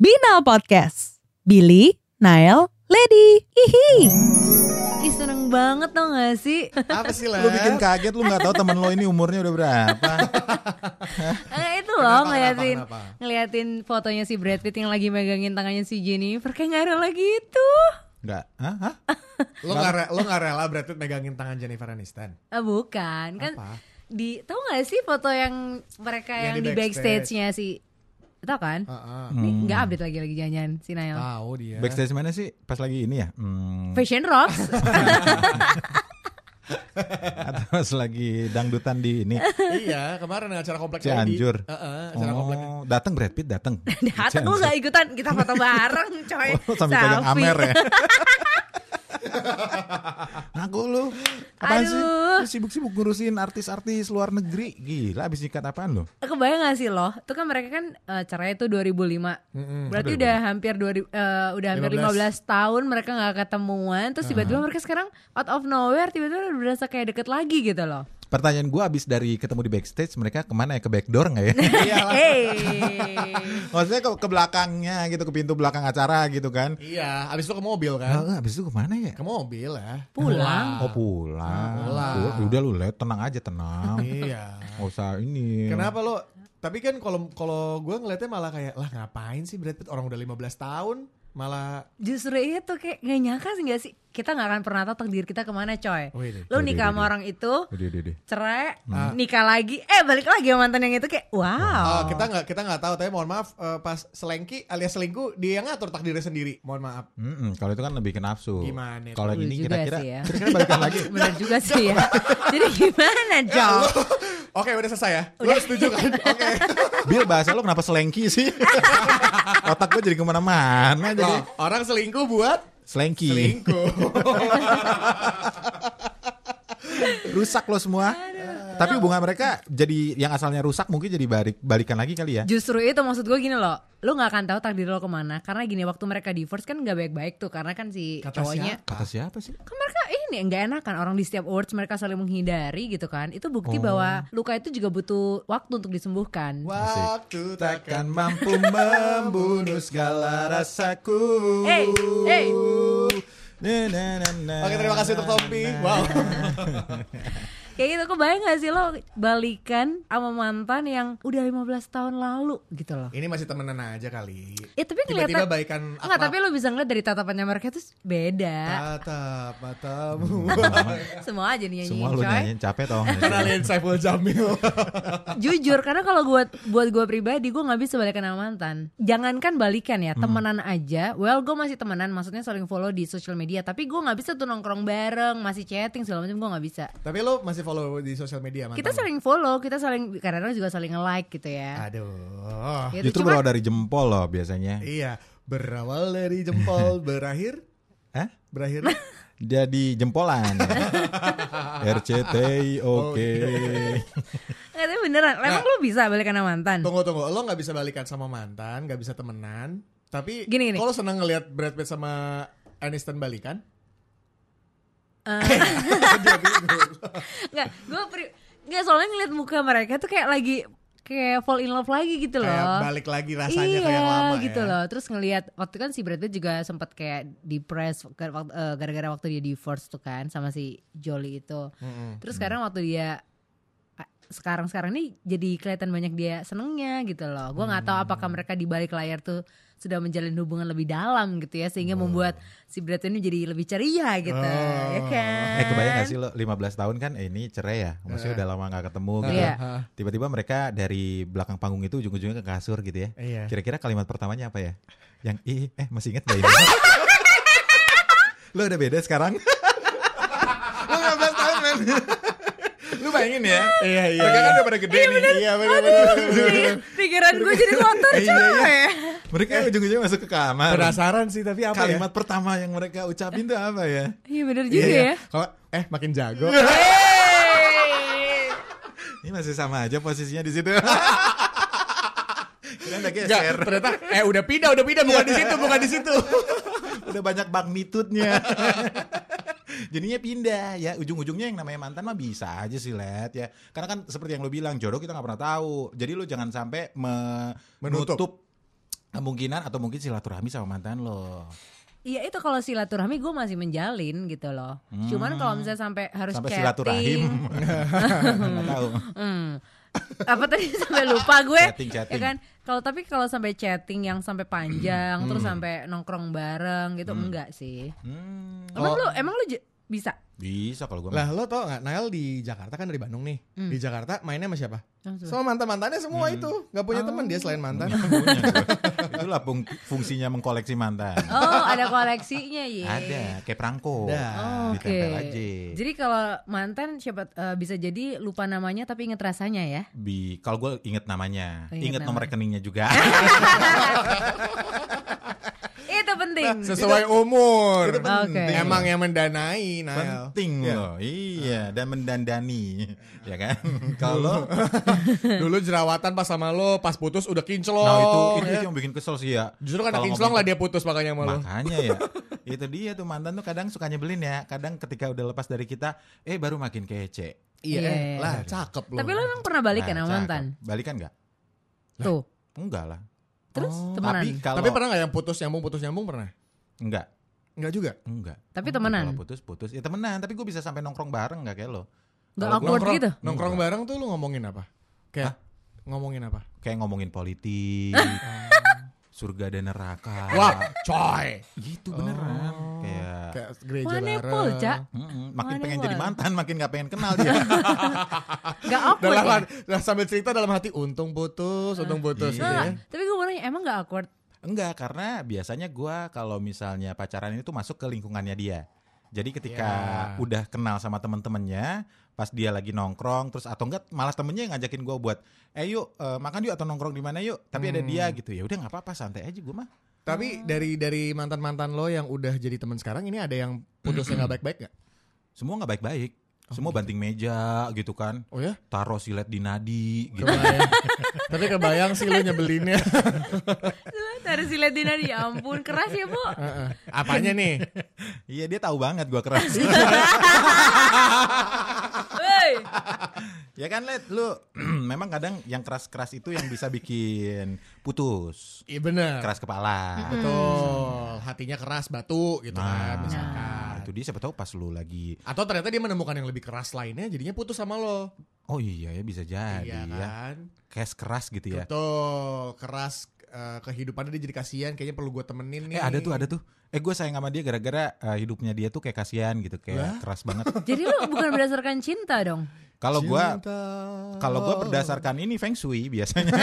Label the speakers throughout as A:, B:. A: Binal Podcast. Billy, Nael, Lady. Hihi.
B: Ih seneng banget tau gak sih?
C: Apa sih lah?
D: Lu bikin kaget lu nggak tahu temen lo ini umurnya udah berapa.
B: Eh, itu
C: Kenapa,
B: loh ngeliatin
C: kenapa, kenapa?
B: ngeliatin fotonya si Brad Pitt yang lagi megangin tangannya si Jennifer kayak nggak rela gitu.
D: Enggak. Hah? Hah?
C: Lu nggak re- lu nggak rela Brad Pitt megangin tangan Jennifer Aniston?
B: Ah, bukan kan?
C: Apa?
B: Di tahu nggak sih foto yang mereka
C: Yang
B: yang,
C: di
B: di backstage-nya si tahu kan?
C: Heeh.
D: Hmm.
B: Nih, nggak update lagi lagi janjian si Nail.
C: Tahu dia.
D: Backstage mana sih pas lagi ini ya? Hmm,
B: Fashion Rocks.
D: atau pas lagi dangdutan di ini
C: iya, kemarin acara kompleks
D: Cianjur.
C: Lady. Heeh, acara kompleks.
D: Oh, datang Brad Pitt datang.
B: Datang lu nggak ikutan kita foto bareng coy.
D: Oh, sambil pegang
B: Selfie.
D: amer ya. Ngaku lu. Apaan sih?
B: Aduh.
D: Lu sibuk-sibuk ngurusin artis-artis luar negeri. Gila abis nyikat apaan lu?
B: Kebayang gak sih loh? Itu kan mereka kan eh, cerai itu 2005. Berarti udah hampir 2000 eh, udah hampir 15.
C: 15
B: tahun mereka nggak ketemuan. Terus tiba-tiba mereka sekarang out of nowhere tiba-tiba udah berasa kayak deket lagi gitu loh.
D: Pertanyaan gua abis dari ketemu di backstage mereka kemana ya ke backdoor nggak ya?
C: Iyalah.
B: Hey.
D: Maksudnya ke, ke belakangnya gitu ke pintu belakang acara gitu kan?
C: Iya, abis itu ke mobil kan?
D: Nah, abis itu kemana ya?
C: Ke mobil ya.
B: Pulang.
D: Oh pulang.
C: Ah, Pulang.
D: Udah, Udah lu lihat tenang aja tenang.
C: Iya.
D: Gak usah ini.
C: Kenapa lo? Tapi kan kalau kalau gue ngeliatnya malah kayak lah ngapain sih Brad Pitt orang udah 15 tahun malah
B: Justru itu kayak gak nyangka sih gak sih? Kita nggak akan pernah tahu takdir kita kemana coy.
C: Wih,
B: Lu nikah sama orang itu,
D: Udah, udah, udah.
B: cerai,
C: Ah.
B: nikah lagi, eh balik lagi sama mantan yang itu kayak
C: Oh,
B: wow.
C: kita nggak kita nggak tahu tapi mohon maaf eh, pas selengki alias selingkuh dia yang ngatur takdirnya sendiri. Mohon maaf.
D: Mm-mm, kalau itu kan lebih ke nafsu.
C: Gimana itu?
D: Kalau
B: Bener
D: ini
B: juga
D: kira-kira
B: sih ya.
D: kira-kira balikan lagi.
B: Bener juga sih ya. Jadi
C: Ya
B: gimana, Jong?
C: Eh, Oke, udah selesai ya. Lo setuju kan? Oke.
D: Bil bahasa lo kenapa selengki sih? Otak gue jadi kemana-mana jadi. Iya.
C: Loh, Nah, orang selingkuh buat
D: Selengki.
C: selingkuh.
D: Rusak lo semua. Tapi hubungan mereka jadi yang asalnya rusak mungkin jadi balik balikan lagi kali ya.
B: Justru itu maksud gue gini loh Lo gak akan tahu takdir lo kemana Karena gini waktu mereka divorce kan gak baik-baik tuh Karena kan si
C: Kata
B: cowoknya
C: siapa?
D: Kata siapa sih?
B: Kan mereka ini nggak enakan Orang di setiap awards mereka saling menghindari gitu kan Itu bukti
C: Oh.
B: bahwa luka itu juga butuh waktu untuk disembuhkan
C: Waktu takkan
D: mampu membunuh segala rasaku.
B: Hey, hey.
D: Na, na, na, na,
C: Oke, terima kasih untuk Tompi.
D: na, na.
C: Wow.
B: Kayak gitu kebayang gak sih lo balikan sama mantan yang udah 15 tahun lalu gitu loh
C: Ini masih temenan aja kali.
B: Ya tapi
C: Tiba-tiba
B: kelihatan
C: baikan
B: Nggak, tapi
C: akrab.
B: lo bisa ngeliat dari tatapannya mereka tuh beda
C: Tatap matamu. Ah.
B: Semua aja nih nyanyiin
D: Semua lu
B: coy.
D: nyanyiin capek tau nggak sih?
B: Gitu
C: Kenalin Saiful Jamil.
B: Jujur karena kalau buat buat gue pribadi gue nggak bisa balikan sama mantan. Jangankan balikan ya
D: Hmm.
B: temenan aja. Well gue masih temenan, maksudnya saling follow di social media. Tapi gue nggak bisa tuh nongkrong bareng, masih chatting segala macam gue nggak bisa.
C: tapi lo masih follow di sosial media mantan
B: Kita
C: lo?
B: saling follow, kita saling kadang-kadang juga saling nge-like gitu ya.
C: Aduh.
B: Gitu.
D: Ah. Justru
B: Cuma-
D: berawal dari jempol loh biasanya.
C: Iya, berawal dari jempol berakhir
D: Hah?
C: berakhir
D: Jadi jempolan. RCTI
C: Oh,
D: oke.
C: iya.
B: Nggak, tapi beneran.
D: Nah.
B: Emang lu bisa balikan sama mantan?
C: Tunggu tunggu, lo nggak bisa balikan sama mantan, nggak bisa temenan. Tapi
B: Gini, gini.
C: kalau seneng ngelihat Brad Pitt sama Aniston balikan?
B: Eh.
C: Dia bingung.
B: Nggak, gue pri- nggak soalnya ngeliat muka mereka tuh kayak lagi kayak fall in love lagi gitu loh.
C: Kayak balik lagi rasanya
B: iya,
C: ke yang lama
B: gitu
C: ya.
B: loh. Terus ngelihat waktu kan si Brad Pitt juga sempat kayak depres gara- wak- eh, gara-gara waktu dia divorce tuh kan sama si Jolie itu. Terus
C: Hmm.
B: sekarang waktu dia ah, sekarang-sekarang ini jadi kelihatan banyak dia senengnya gitu loh. Gua nggak tahu apakah
C: Hmm.
B: mereka di balik layar tuh sudah menjalin hubungan lebih dalam gitu ya sehingga
C: Hmm.
B: membuat si Brad Pitt ini jadi lebih ceria gitu. Ya
C: Oh.
B: kan?
D: Eh kebayang gak sih lo 15 tahun kan eh, ini cerai ya
C: Iya.
D: Maksudnya udah lama gak ketemu gitu
B: Iya.
D: Tiba-tiba mereka dari belakang panggung itu ujung-ujungnya ke kasur gitu ya
C: Iya.
D: Kira-kira kalimat pertamanya apa ya? Yang ih eh masih inget gak ini? lo udah beda sekarang?
C: Lu 15 tahun men.
D: Lu bayangin ya
C: Iya iya.
D: Mereka kan udah pada gede nih
C: Iya benar benar.
B: Jadi Pikiran gue jadi kotor
D: Iya,
B: coy.
D: Mereka ujung-ujungnya masuk ke kamar
C: Penasaran sih tapi Eh. apa Iya,
D: Kalimat pertama yang mereka ucapin tuh apa ya?
B: Iya bener
C: ya?
B: juga ya. Iya,
C: Kalau eh makin jago.
D: Ini masih sama aja posisinya di situ. Kalian udah
C: Nggak,
D: geser.
C: ternyata eh udah pindah, udah pindah bukan di situ, bukan di situ.
D: Udah banyak magnitudenya. Jadinya pindah ya ujung-ujungnya yang namanya mantan mah bisa aja sih let ya karena kan seperti yang lo bilang jodoh kita nggak pernah tahu jadi lo jangan sampai me-
C: Menutup.
D: menutup kemungkinan atau mungkin silaturahmi sama mantan lo
B: Iya itu kalau silaturahmi gue masih menjalin gitu loh. Cuman kalau misalnya sampai harus
D: Hmm. sampai
B: chatting,
D: silaturahim nggak tahu
B: Hmm. Apa tadi sampai lupa gue?
D: Chatting, chatting.
B: Ya kan? Kalau tapi kalau sampai chatting yang sampai panjang terus sampai nongkrong bareng gitu enggak sih.
D: Hmm,
B: Emang
C: Oh.
B: lu emang lu j- bisa?
D: bisa kalau gue
C: Lah lo tau gak Nael di Jakarta kan dari Bandung nih
B: Hmm.
C: Di Jakarta mainnya sama siapa?
B: Sama siapa?
C: Sama mantan-mantannya semua itu Gak punya teman dia
D: Oh.
C: selain mantan
D: itulah fung- fungsinya mengkoleksi mantan
B: Oh, ada koleksinya ya.
D: ada kayak perangko
C: Ada.
B: Oh, Oke.
D: ditempel aja
B: Jadi kalau mantan siapa eh, bisa jadi lupa namanya tapi inget rasanya ya.
D: Bi, kalau gue inget namanya,
B: Oh, inget
D: inget nomor
B: nama.
D: rekeningnya juga.
B: Itu
D: Iya. Nah,
B: penting.
C: Sesuai umur
D: Itu
B: penting. Oke.
C: Emang yang mendanai Nael
D: penting
C: Iya.
D: loh, iya dan mendandani, ya kan? Kalau
C: Dulu jerawatan pas sama lo Pas putus udah kinclong
D: nah itu itu
C: ya.
D: yang bikin kesel sih ya.
C: Justru karena
D: Kalau
C: kinclong lah
D: ngomongin-
C: dia putus makanya sama lo
D: Makanya ya, itu dia tuh mantan tuh kadang suka nyebelin ya. Kadang ketika udah lepas dari kita, eh baru makin kece.
C: Iya
B: Iya.
C: lah cakep lo
B: Tapi lu emang pernah balik kan
D: Nah,
B: sama
D: cakep.
B: mantan?
D: Balikan nggak?
B: Tuh.
D: Enggak lah.
B: Terus
D: Oh,
B: temenan.
D: Tapi kalau
C: Tapi pernah gak yang putus nyambung putus nyambung pernah?
D: enggak,
C: Enggak juga
D: enggak.
B: Tapi temenan?
D: Kalau putus putus, ya temenan. Tapi gue bisa sampai nongkrong bareng nggak kayak lo?
B: Enggak
D: Kalau
B: awkward
C: nongkrong,
B: gitu.
C: Nongkrong bareng tuh lu ngomongin apa? Kayak ngomongin apa?
D: Kayak ngomongin politik, surga dan neraka.
C: Wah, Oh. coy.
D: gitu beneran. Kayak
C: Kayak gereja
B: Mana
C: bareng.
B: pol, Cak?
D: Mm-mm, makin
B: Waduh,
D: pengen jadi
B: waduh.
D: mantan, makin nggak pengen kenal dia.
B: Enggak awkward.
C: Dalam,
D: iya.
B: ya?
C: nah, sambil cerita dalam hati untung putus, untung putus
D: Iya.
C: gitu
B: Nah,
C: ya.
B: tapi gue mau nanya, emang gak awkward?
D: Enggak, karena biasanya gua kalau misalnya pacaran itu masuk ke lingkungannya dia. Jadi ketika
C: Ya.
D: udah kenal sama temen-temennya, pas dia lagi nongkrong, terus atau enggak malah temennya yang ngajakin gua buat, eh yuk eh, makan yuk atau nongkrong di mana yuk. Tapi ada dia
C: Hmm.
D: gitu ya, udah nggak apa-apa santai aja gua mah.
C: Tapi dari dari mantan-mantan lo yang udah jadi teman sekarang ini ada yang putusnya nggak baik-baik nggak?
D: Semua nggak baik-baik, semua banting meja gitu kan,
C: Oh ya?
D: taruh silet di nadi gitu.
C: Kebayang. Tapi kebayang sih lo nyebelinnya.
B: Dari si Ledina ya ampun keras ya bu
C: Heeh. Apanya nih?
D: Iya dia tahu banget gua keras.
B: Woi,
D: ya kan Let, lu memang kadang yang keras-keras itu yang bisa bikin putus.
C: Iya bener.
D: keras kepala.
C: Betul. Hatinya keras batu gitu kan
D: Nah,
C: misalkan.
D: itu dia siapa tahu pas lu lagi
C: Atau ternyata dia menemukan yang lebih keras lainnya jadinya putus sama lo.
D: oh iya ya bisa jadi
C: iya
D: ya.
C: kan?
D: Cash keras gitu ya.
C: Betul, keras eh, kehidupannya dia jadi kasihan, kayaknya perlu gue temenin nih.
D: Eh ada tuh ada tuh. Eh gue sayang sama dia gara-gara eh, hidupnya dia tuh kayak kasihan gitu kayak keras banget.
B: jadi lu bukan berdasarkan cinta dong.
D: Kalau gua
C: Cinta.
D: kalau gua
B: Oh.
D: berdasarkan ini feng shui biasanya.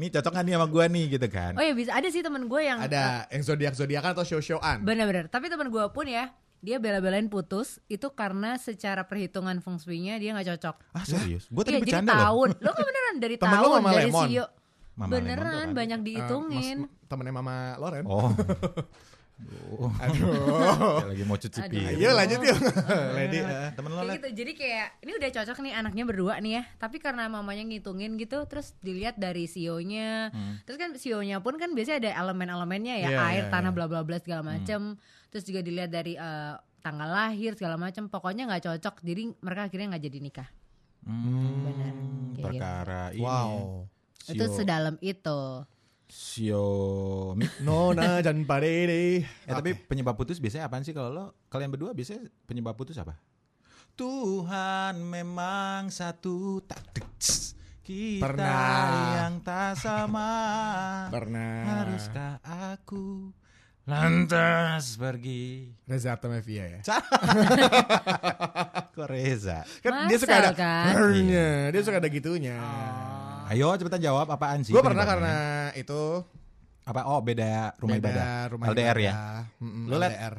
D: nih cocok kan nih sama gua nih gitu kan.
B: Oh ya bisa ada sih temen gue yang
C: ada yang zodiak zodiakan atau show showan.
B: benar-benar. Tapi temen gue pun ya dia bela-belain putus itu karena secara perhitungan feng shui-nya dia nggak cocok.
D: Ah serius. Gua tadi
B: Iya, jadi
D: bercanda loh.
B: tahun. Lo kan beneran dari
C: Temen lu
B: tahun
C: Mama
B: dari
C: Lemon.
B: sio.
D: Mama Lemon
B: beneran
D: tuh kan.
B: banyak dihitungin.
C: Eh, temennya Mama Loren.
D: Oh. Aduh. Kayak lagi mau cuci
B: Aduh.
D: piring.
C: Iya lanjut yuk. Lady.
D: Eh, Temen lo
B: Kayak
D: Let.
B: gitu. Jadi kayak ini udah cocok nih anaknya berdua nih ya. Tapi karena mamanya ngitungin gitu terus dilihat dari sionya. Terus kan sionya pun kan biasanya ada elemen-elemennya ya,
C: Hmm. Iya,
B: air,
C: iya,
B: tanah bla bla bla segala macem Terus juga dilihat dari eh, tanggal lahir segala macem Pokoknya nggak cocok. Jadi mereka akhirnya nggak jadi nikah.
D: Hmm,
B: Benar. Kayak
D: perkara ini.
C: Wow. E
B: gitu. Itu sedalam itu.
D: Xiaomi.
C: No na jangan parede.
D: Eh, tapi penyebab putus biasanya apaan sih kalau lo? Kalian berdua biasanya penyebab putus apa? Tuhan memang satu tak teks. kita
C: Pernah.
D: yang tak sama.
C: Pernah.
D: Haruskah aku lantas pergi?
C: Reza Artamevia ya.
D: Kok Reza? Iya.
C: Kan dia suka
B: Marcel,
C: ada
B: kan?
C: Hernya, dia suka ada gitunya.
D: Ayo cepetan jawab apaan sih?
C: Gue pernah karena
D: penyebabnya?
C: itu
D: apa? Oh beda rumah
C: beda
D: ibadah.
C: rumah
D: LDR ya.
C: ibadah. Mm-mm,
D: Lo, Let?
C: LDR.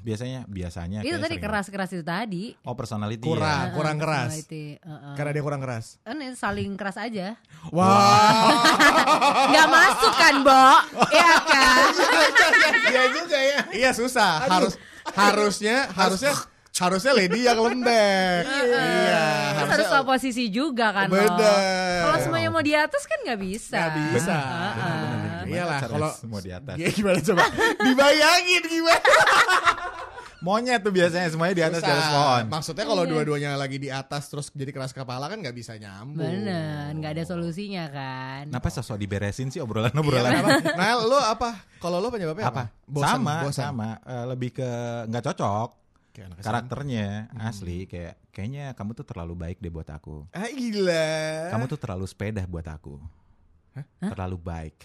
D: Biasanya biasanya.
B: itu
D: kayak
B: tadi
D: sering.
B: keras-keras itu tadi.
D: Oh personality.
C: Kurang, Iya,
B: Eh,
C: Ah, kurang keras.
B: personality, eh, eh.
C: Karena dia kurang keras.
B: Kan saling keras aja.
C: Wah, Oh.
B: Gak masuk kan, Bo? Iya kan?
C: iya juga ya. Iya susah. Harus harusnya harusnya harusnya lady yang lembek. iya,
B: Terus harus oposisi juga kan lo.
C: Bener.
B: Kalau semuanya mau di atas kan nggak bisa.
C: Nggak bisa.
B: Heeh.
D: Gimana
C: Iyalah
D: caranya
C: kalau
D: semua di atas?
C: Iya, gimana coba? Dibayangin gimana?
D: Monyet tuh biasanya semuanya di atas di atas
C: Susah.
D: pohon.
C: Maksudnya kalau
B: Iya.
C: dua-duanya lagi di atas terus jadi keras kepala kan nggak bisa nyambung.
B: Bener, nggak ada solusinya kan.
D: Kenapa sosok diberesin sih
C: Iya,
D: obrolan-obrolan
C: kenapa? Nael, lu apa? Kalau lu penyebabnya apa?
D: apa? sama, sama. Eh, lebih ke nggak cocok
C: Kayak anak SMP.
D: karakternya asli kayak kayaknya kamu tuh terlalu baik deh buat aku.
C: Ah gila.
D: Kamu tuh terlalu sepeda buat aku. Terlalu baik.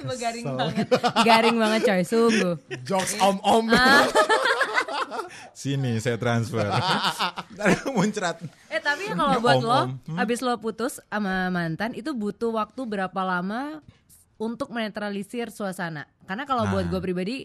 B: Sumpah garing banget. garing banget coy, sungguh.
C: jokes om-om.
B: Ah.
D: Sini saya transfer. Ntar muncrat.
B: Eh tapi ya kalau buat
D: Om,
B: lo,
D: om. Hmm.
B: habis lo putus sama mantan itu butuh waktu berapa lama untuk menetralisir suasana? Karena kalau buat
D: Nah.
B: gue pribadi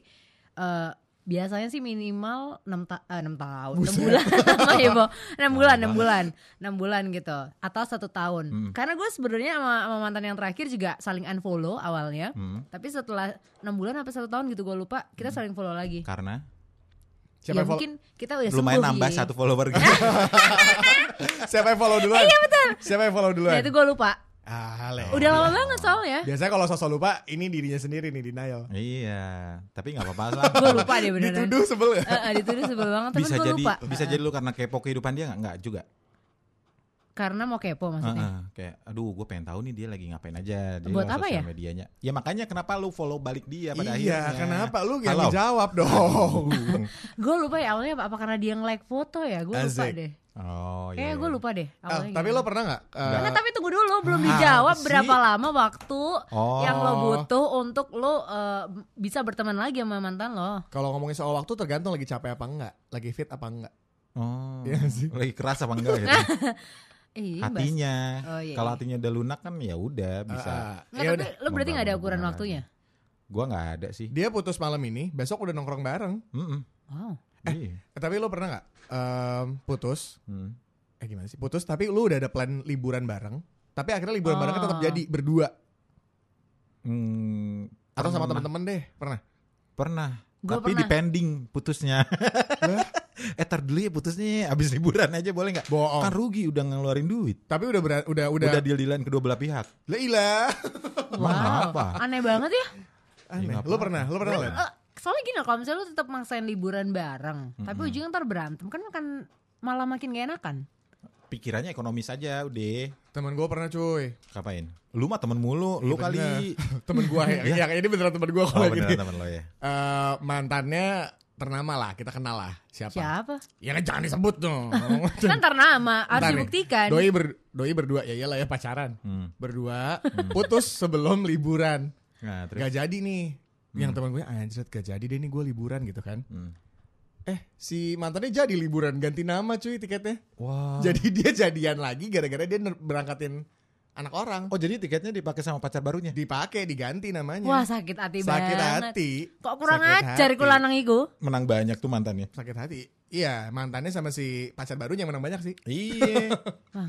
B: eh, biasanya sih minimal 6 ta eh, enam tahun, 6 bulan. Sama ya, Bo. 6 bulan, 6 bulan. 6 bulan gitu atau satu tahun.
D: Hmm.
B: Karena gue sebenarnya sama, sama mantan yang terakhir juga saling unfollow awalnya.
D: Hmm.
B: Tapi setelah 6 bulan apa satu tahun gitu gue lupa, kita saling follow lagi.
D: Karena
C: Siapa
B: ya
C: yang follow-
B: mungkin kita udah
D: lumayan
B: sembuh,
D: nambah
B: Yi.
D: satu follower gitu.
C: Siapa yang follow duluan? Iya betul. Siapa yang follow duluan?
B: Nah, itu gue lupa.
C: Ah, le.
B: Udah
D: Oh, iya.
B: lama banget soalnya.
C: Biasanya kalau sosok lupa, ini dirinya sendiri nih denial.
D: iya, tapi nggak apa-apa lah.
B: gue lupa deh beneran
C: Dituduh sebel ya?
B: Eh, eh, dituduh sebel banget tapi
D: bisa
B: gue
D: jadi
B: lupa
D: bisa
B: Eh,
D: jadi lu karena kepo kehidupan dia nggak nggak juga
B: karena mau kepo maksudnya
D: Heeh, kayak aduh gue pengen tahu nih dia lagi ngapain aja di
B: Buat apa
D: sosial
B: ya?
D: medianya ya makanya kenapa lu follow balik dia pada
C: Iya,
D: akhirnya Oh,
C: kenapa Oh. lu yang
D: Halo.
C: jawab dong?
B: gue lupa ya awalnya apa, apa karena dia nge-like foto ya gue lupa
C: Asik.
B: deh
D: oh iya, iya.
B: Kayaknya
D: Ah,
B: gue lupa deh
C: Al,
B: awalnya
C: Ah, tapi
B: gimana.
C: lo pernah nggak? eh,
B: Karena tapi tunggu dulu belum dijawab berapa lama waktu
D: Oh.
B: yang lo butuh untuk lo eh, bisa berteman lagi sama mantan lo
C: kalau ngomongin soal waktu tergantung lagi capek apa enggak, lagi fit apa enggak.
D: oh
C: Iya sih.
D: lagi keras apa enggak gitu
B: Ih, Mbak.
D: hatinya
B: Oh, iya,
D: kalau
B: iya.
D: hatinya udah lunak kan ya udah bisa
C: Ah, ah.
B: Nggak,
C: Ya
B: tapi
C: udah.
B: lo berarti nggak ada
D: Membangun
B: ukuran
D: hubungan
B: waktunya
D: gue nggak ada sih
C: Dia putus malam ini, besok udah nongkrong bareng.
D: Mm-mm.
B: wow
D: Iya.
C: Eh, tapi lo pernah nggak em, putus?
D: Mm.
C: Eh gimana sih? Putus tapi lu udah ada plan liburan bareng. Tapi akhirnya liburan
B: Oh.
C: barengnya tetap jadi berdua
D: Mm,
C: atau sama
D: pernah-
C: teman-teman deh pernah.
D: pernah
B: Gua
D: tapi
B: pernah.
D: depending putusnya eh tar dulu ya putusnya abis liburan aja boleh nggak
C: Bohong.
D: kan rugi udah ngeluarin duit
C: Tapi udah bera- udah udah,
D: udah, deal dealan kedua belah pihak
C: Lah, iya. ilah.
B: wow
D: Emang kenapa?
B: aneh banget ya
D: Iya.
C: Aneh.
D: nggak
C: Lu
D: apa-apa.
C: pernah? Lu pernah? Len?
D: Pernah.
B: Eh, soalnya gini loh, kalau misalnya lo tetap maksain liburan bareng tapi ujungnya ntar berantem kan kan malah makin gak enakan
D: pikirannya ekonomis aja udah
C: Temen gue pernah cuy.
D: ngapain lu mah temen mulu lu kali
C: Iya, Bener. temen gue ya, yang ini beneran temen gue
D: Iya. oh
C: kalau
D: beneran
C: gini.
D: temen lo ya
C: Eh, mantannya ternama lah, kita kenal lah siapa.
B: siapa
C: Ya kan jangan disebut dong.
B: kan ntar nama harus
C: Ntar nih,
B: dibuktikan
C: Doi ber, doi berdua ya iyalah ya pacaran.
D: Hmm.
C: Berdua putus sebelum liburan.
D: nah terus
C: Gak jadi nih. Yang teman gue anjret gak jadi deh nih gue liburan gitu kan.
D: Hmm.
C: Eh si mantannya jadi liburan ganti nama cuy tiketnya.
D: wah
C: Jadi dia jadian lagi gara-gara dia ner- berangkatin anak orang.
D: oh jadi tiketnya dipakai sama pacar barunya
C: Dipakai diganti namanya.
B: wah sakit hati
C: sakit
B: banget
C: hati.
B: kok kurang
C: Sakit
B: ajar
C: hati.
B: ku lanang iku
D: menang banyak tuh mantannya
C: Sakit hati. Iya, mantannya sama si pacar barunya yang menang banyak sih.
D: iya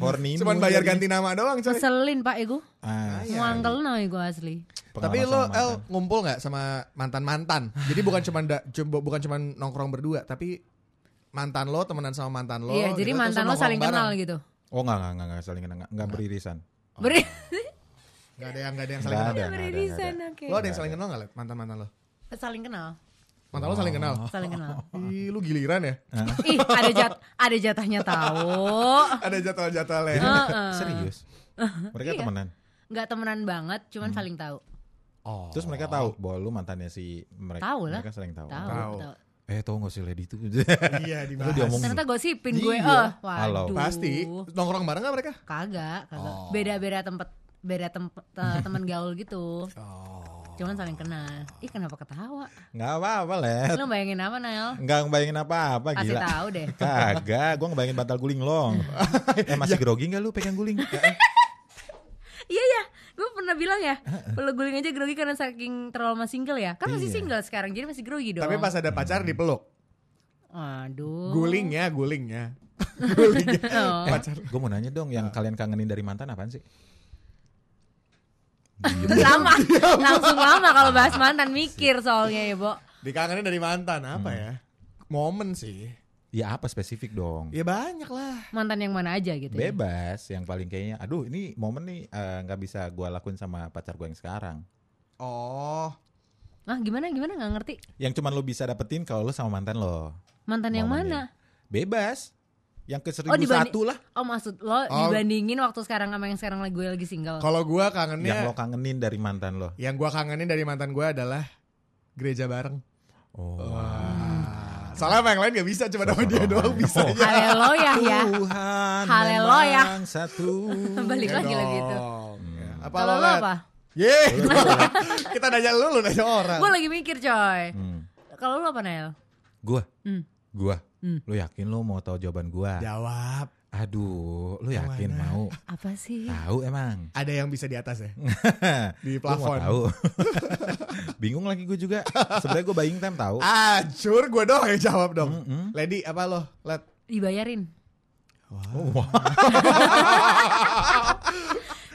D: horny
C: Cuman bayar ganti nama doang, coy.
B: ngeselin pak iku
D: ah,
C: Iya.
B: Muangkel no iku asli
C: Tapi lo El ngumpul nggak sama mantan-mantan? Jadi bukan cuman da- cum- bukan cuman nongkrong berdua, tapi mantan lo temenan sama mantan lo.
B: iya
C: gitu,
B: jadi
C: terus
B: mantan lo
C: nongkrong
B: saling kenal
C: bareng.
B: gitu
D: oh enggak enggak enggak, enggak saling kenal enggak, enggak beririsan
C: Oh,
B: beri
C: Nggak ada yang nggak ada yang saling
D: enggak
C: kenal.
D: ada enggak ada,
B: beri
D: enggak ada.
B: sana oke
C: Lo ada yang saling kenal nggak mantan mantan lo?
B: saling kenal
C: Mantan lo saling kenal.
B: saling kenal
D: Oh.
C: Ih, lu giliran ya.
B: ih ada jat ada jatahnya tahu
C: Ada jadwal-jadwalnya.
D: serius mereka
C: Iya.
D: temenan
B: nggak temenan banget cuman
C: Hmm.
B: saling tahu
C: Oh.
D: terus mereka tahu bahwa lu mantannya si mereka
B: Tahu lah.
D: mereka saling tahu
B: tahu
C: Tahu.
B: tahu.
D: eh tahu nggak sih lady itu
C: Iya,
D: Lu
C: dibahas.
D: diomongin.
B: ternyata gosipin gue
D: Iya.
B: eh
D: Halo.
B: waduh
C: Pasti nongkrong bareng nggak mereka?
B: kagak kagak
C: Oh.
B: beda beda tempat beda tempat teman gaul gitu
C: Oh.
B: cuman saling kenal ih kenapa ketawa
D: nggak apa-apa lah
C: Eh,
B: lo bayangin apa Nael
D: Enggak ngebayangin
C: Ah,
D: apa-apa
B: kasih
D: gila.
B: tahu deh
D: Kagak, gua ngebayangin bantal guling long. eh masih grogi gak lu pegang guling? Eh,
B: iya ya gue pernah bilang ya peluk guling aja grogi karena saking terlalu sama single ya kan masih
D: Iya.
B: single sekarang jadi masih grogi dong Oh.
C: Tapi pas ada pacar dipeluk.
B: aduh
C: Guling ya, guling ya. Guling ya.
B: Oh.
D: eh, gue mau nanya dong, yang kalian kangenin dari mantan apaan sih?
C: gitu.
B: lama
C: Iya,
B: langsung lama kalau bahas mantan mikir soalnya ya bo
C: Dikangenin dari mantan apa
D: Hmm.
C: ya? Momen sih.
D: Ya apa spesifik dong?
C: Ya
B: Iya.
C: banyak lah.
B: mantan yang mana aja gitu ya.
D: Bebas, yang paling kayaknya, aduh ini momen nih eh, nggak bisa gua lakuin sama pacar gua yang sekarang.
C: Oh.
B: Ah gimana gimana nggak ngerti
D: yang cuman lo bisa dapetin kalau lo sama mantan lo
B: mantan yang
C: ya.
D: Momennya.
B: mana?
D: bebas yang ke 1001
B: Oh, dibanding-
D: lah
B: Oh maksud lo
C: Oh.
B: dibandingin waktu sekarang sama yang sekarang lagi gue lagi single.
C: Kalau gua
D: yang lo
C: kangennya,
D: kangenin dari mantan lo
C: yang gua kangenin dari mantan gua adalah gereja bareng.
D: oh
C: Salah sama yang lain gak bisa, cuma sama dia doang bisa.
D: Oh.
B: Haleluya ya.
D: Tuhan
B: Haleluya.
D: memang satu
B: Balik
C: Ya
B: lagi lah gitu.
C: dong.
D: Hmm.
C: Ya, Apa
B: Kalau lo
C: Lolet?
B: apa?
C: Yeay, kita nanya lu, lu nanya orang.
B: Gue lagi mikir coy.
D: Hmm.
B: Kalau lo apa Nail?
D: gua
B: Hmm.
D: gua
B: Hmm.
D: lo yakin lo mau tahu jawaban gua
C: Ya. Jawab.
D: aduh lo yakin mau
B: Apa sih?
D: tahu emang
C: Ada yang bisa di atas ya? Di
D: Lu Hmm. mau
C: plafon.
D: tahu bingung lagi gue juga sebenarnya gue buying time tahu
C: Ah, sure gue dong yang jawab dong.
D: Mm-mm.
C: Lady apa lo? Let.
B: Dibayarin.
D: Wah.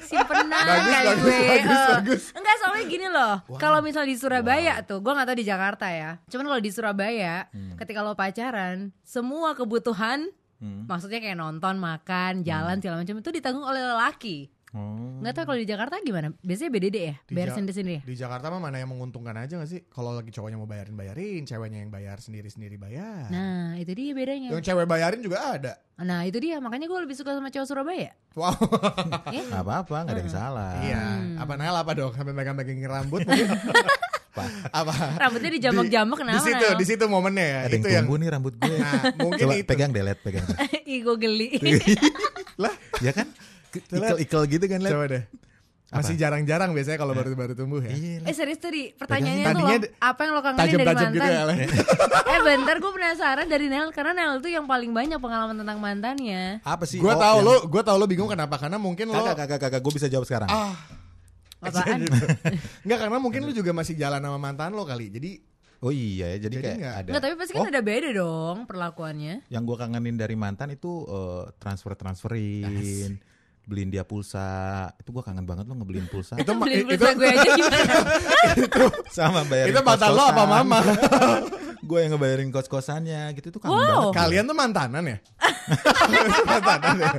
B: Simpenan
C: Bagus,
B: kali
C: bagus,
B: gue.
C: bagus,
B: eh.
C: bagus.
B: Enggak soalnya gini loh. Kalau misal di Surabaya tuh, gue nggak tahu di Jakarta ya. Cuman kalau di Surabaya, ketika lo pacaran, semua kebutuhan,
D: Hmm.
B: maksudnya kayak nonton,
C: Hmm.
B: makan, jalan segala macam itu ditanggung oleh lelaki.
D: Oh.
B: Nggak tahu kalau di Jakarta gimana? Biasanya BDD ya,
C: Di
B: bayar
C: Ja-
B: sendiri-sendiri ya.
C: Di Jakarta mah mana yang menguntungkan aja gak sih? Kalau lagi cowoknya mau bayarin bayarin, ceweknya yang bayar sendiri sendiri bayar.
B: Nah itu dia bedanya.
C: Yang cewek bayarin juga ada.
B: Nah itu dia makanya gue lebih suka sama cowok Surabaya.
C: Wow.
B: Ya?
D: Nggak apa-apa, nggak ada yang salah.
C: Iya.
B: Hmm.
C: Apa Nael apa dong? Sampai megang-megangin rambut mungkin. apa?
B: Rambutnya nah, dijamak-jamak
C: Di-
B: kenapa?
C: Di situ, di situ momennya ya.
D: Ada yang
C: itu yang.
D: tumbuh nih rambut gue.
C: Nah, mungkin
D: Coba
C: itu.
D: pegang deh, Let, pegang.
B: Igo geli.
C: Iya. Lah,
D: ya kan? Ke- Ikel-ikel gitu kan, Let. Eh.
C: coba deh. Masih jarang-jarang biasanya kalau baru-baru tumbuh ya.
D: Iya, Let.
B: eh serius tadi pertanyaannya tuh
C: Tadinya
B: lo,
C: d-
B: apa yang lo kangenin dari
C: Tajam-tajam
B: mantan?
C: gitu ya. Le.
B: eh bentar gue penasaran dari Nel karena Nel tuh yang paling banyak pengalaman tentang mantannya.
D: Apa sih?
C: Gue
D: Oh,
C: tau lo,
D: yang-
C: gue tau lo bingung kenapa karena mungkin lo
D: Kagak, kagak, kagak. Gue bisa jawab sekarang.
C: ah
B: Apaan?
C: Enggak karena mungkin lu juga masih jalan sama mantan lo kali. Jadi
D: Oh iya ya, jadi,
C: Jadi
D: kayak
C: nggak-
D: ada.
B: Nggak tapi pasti kan
D: Oh,
B: ada beda dong perlakuannya.
D: yang gue kangenin dari mantan itu transfer transferin, beliin dia pulsa. Itu gue kangen banget lo ngebeliin pulsa.
C: itu ma-
B: Beli
C: itu
B: pulsa gue aja gimana?
D: Sama bayarin.
C: itu mantan lo apa
D: kos-kosan.
C: mama?
D: gue yang ngebayarin kos kosannya gitu tuh kangen
B: Wow.
D: banget.
C: Kalian tuh mantanan ya? mantanan ya.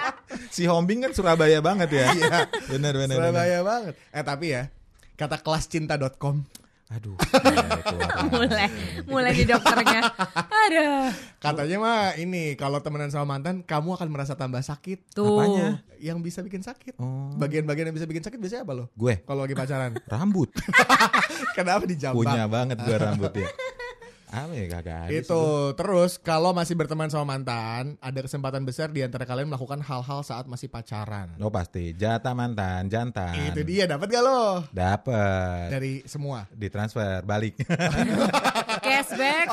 D: Si Hombing kan Surabaya banget ya. Iya. bener bener. bener.
C: Surabaya banget. Eh tapi ya kata kelascinta.com
D: Aduh. ya, keluar.
B: mulai mulai di dokternya. Aduh.
C: katanya mah ini kalau temenan sama mantan kamu akan merasa tambah sakit.
B: Tuh.
D: Apanya?
C: Yang bisa bikin sakit.
D: Oh.
C: Bagian-bagian yang bisa bikin sakit biasanya apa lo?
D: Gue
C: Kalau lagi pacaran.
D: rambut
C: Kenapa dijambak?
D: punya banget gue rambutnya. Apa ya kagak ada sih
C: itu
D: gua.
C: terus kalau masih berteman sama mantan ada kesempatan besar di antara kalian melakukan hal-hal saat masih pacaran
D: Lo Oh, pasti jatah mantan, jantan.
C: itu dia dapat gak lo
D: Dapat
C: dari semua
D: ditransfer balik.
B: Cashback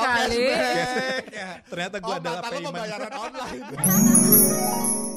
C: Oh,
B: kali.
C: Cashback, ya.
D: Ternyata
C: oh, mantan lo pembayaran online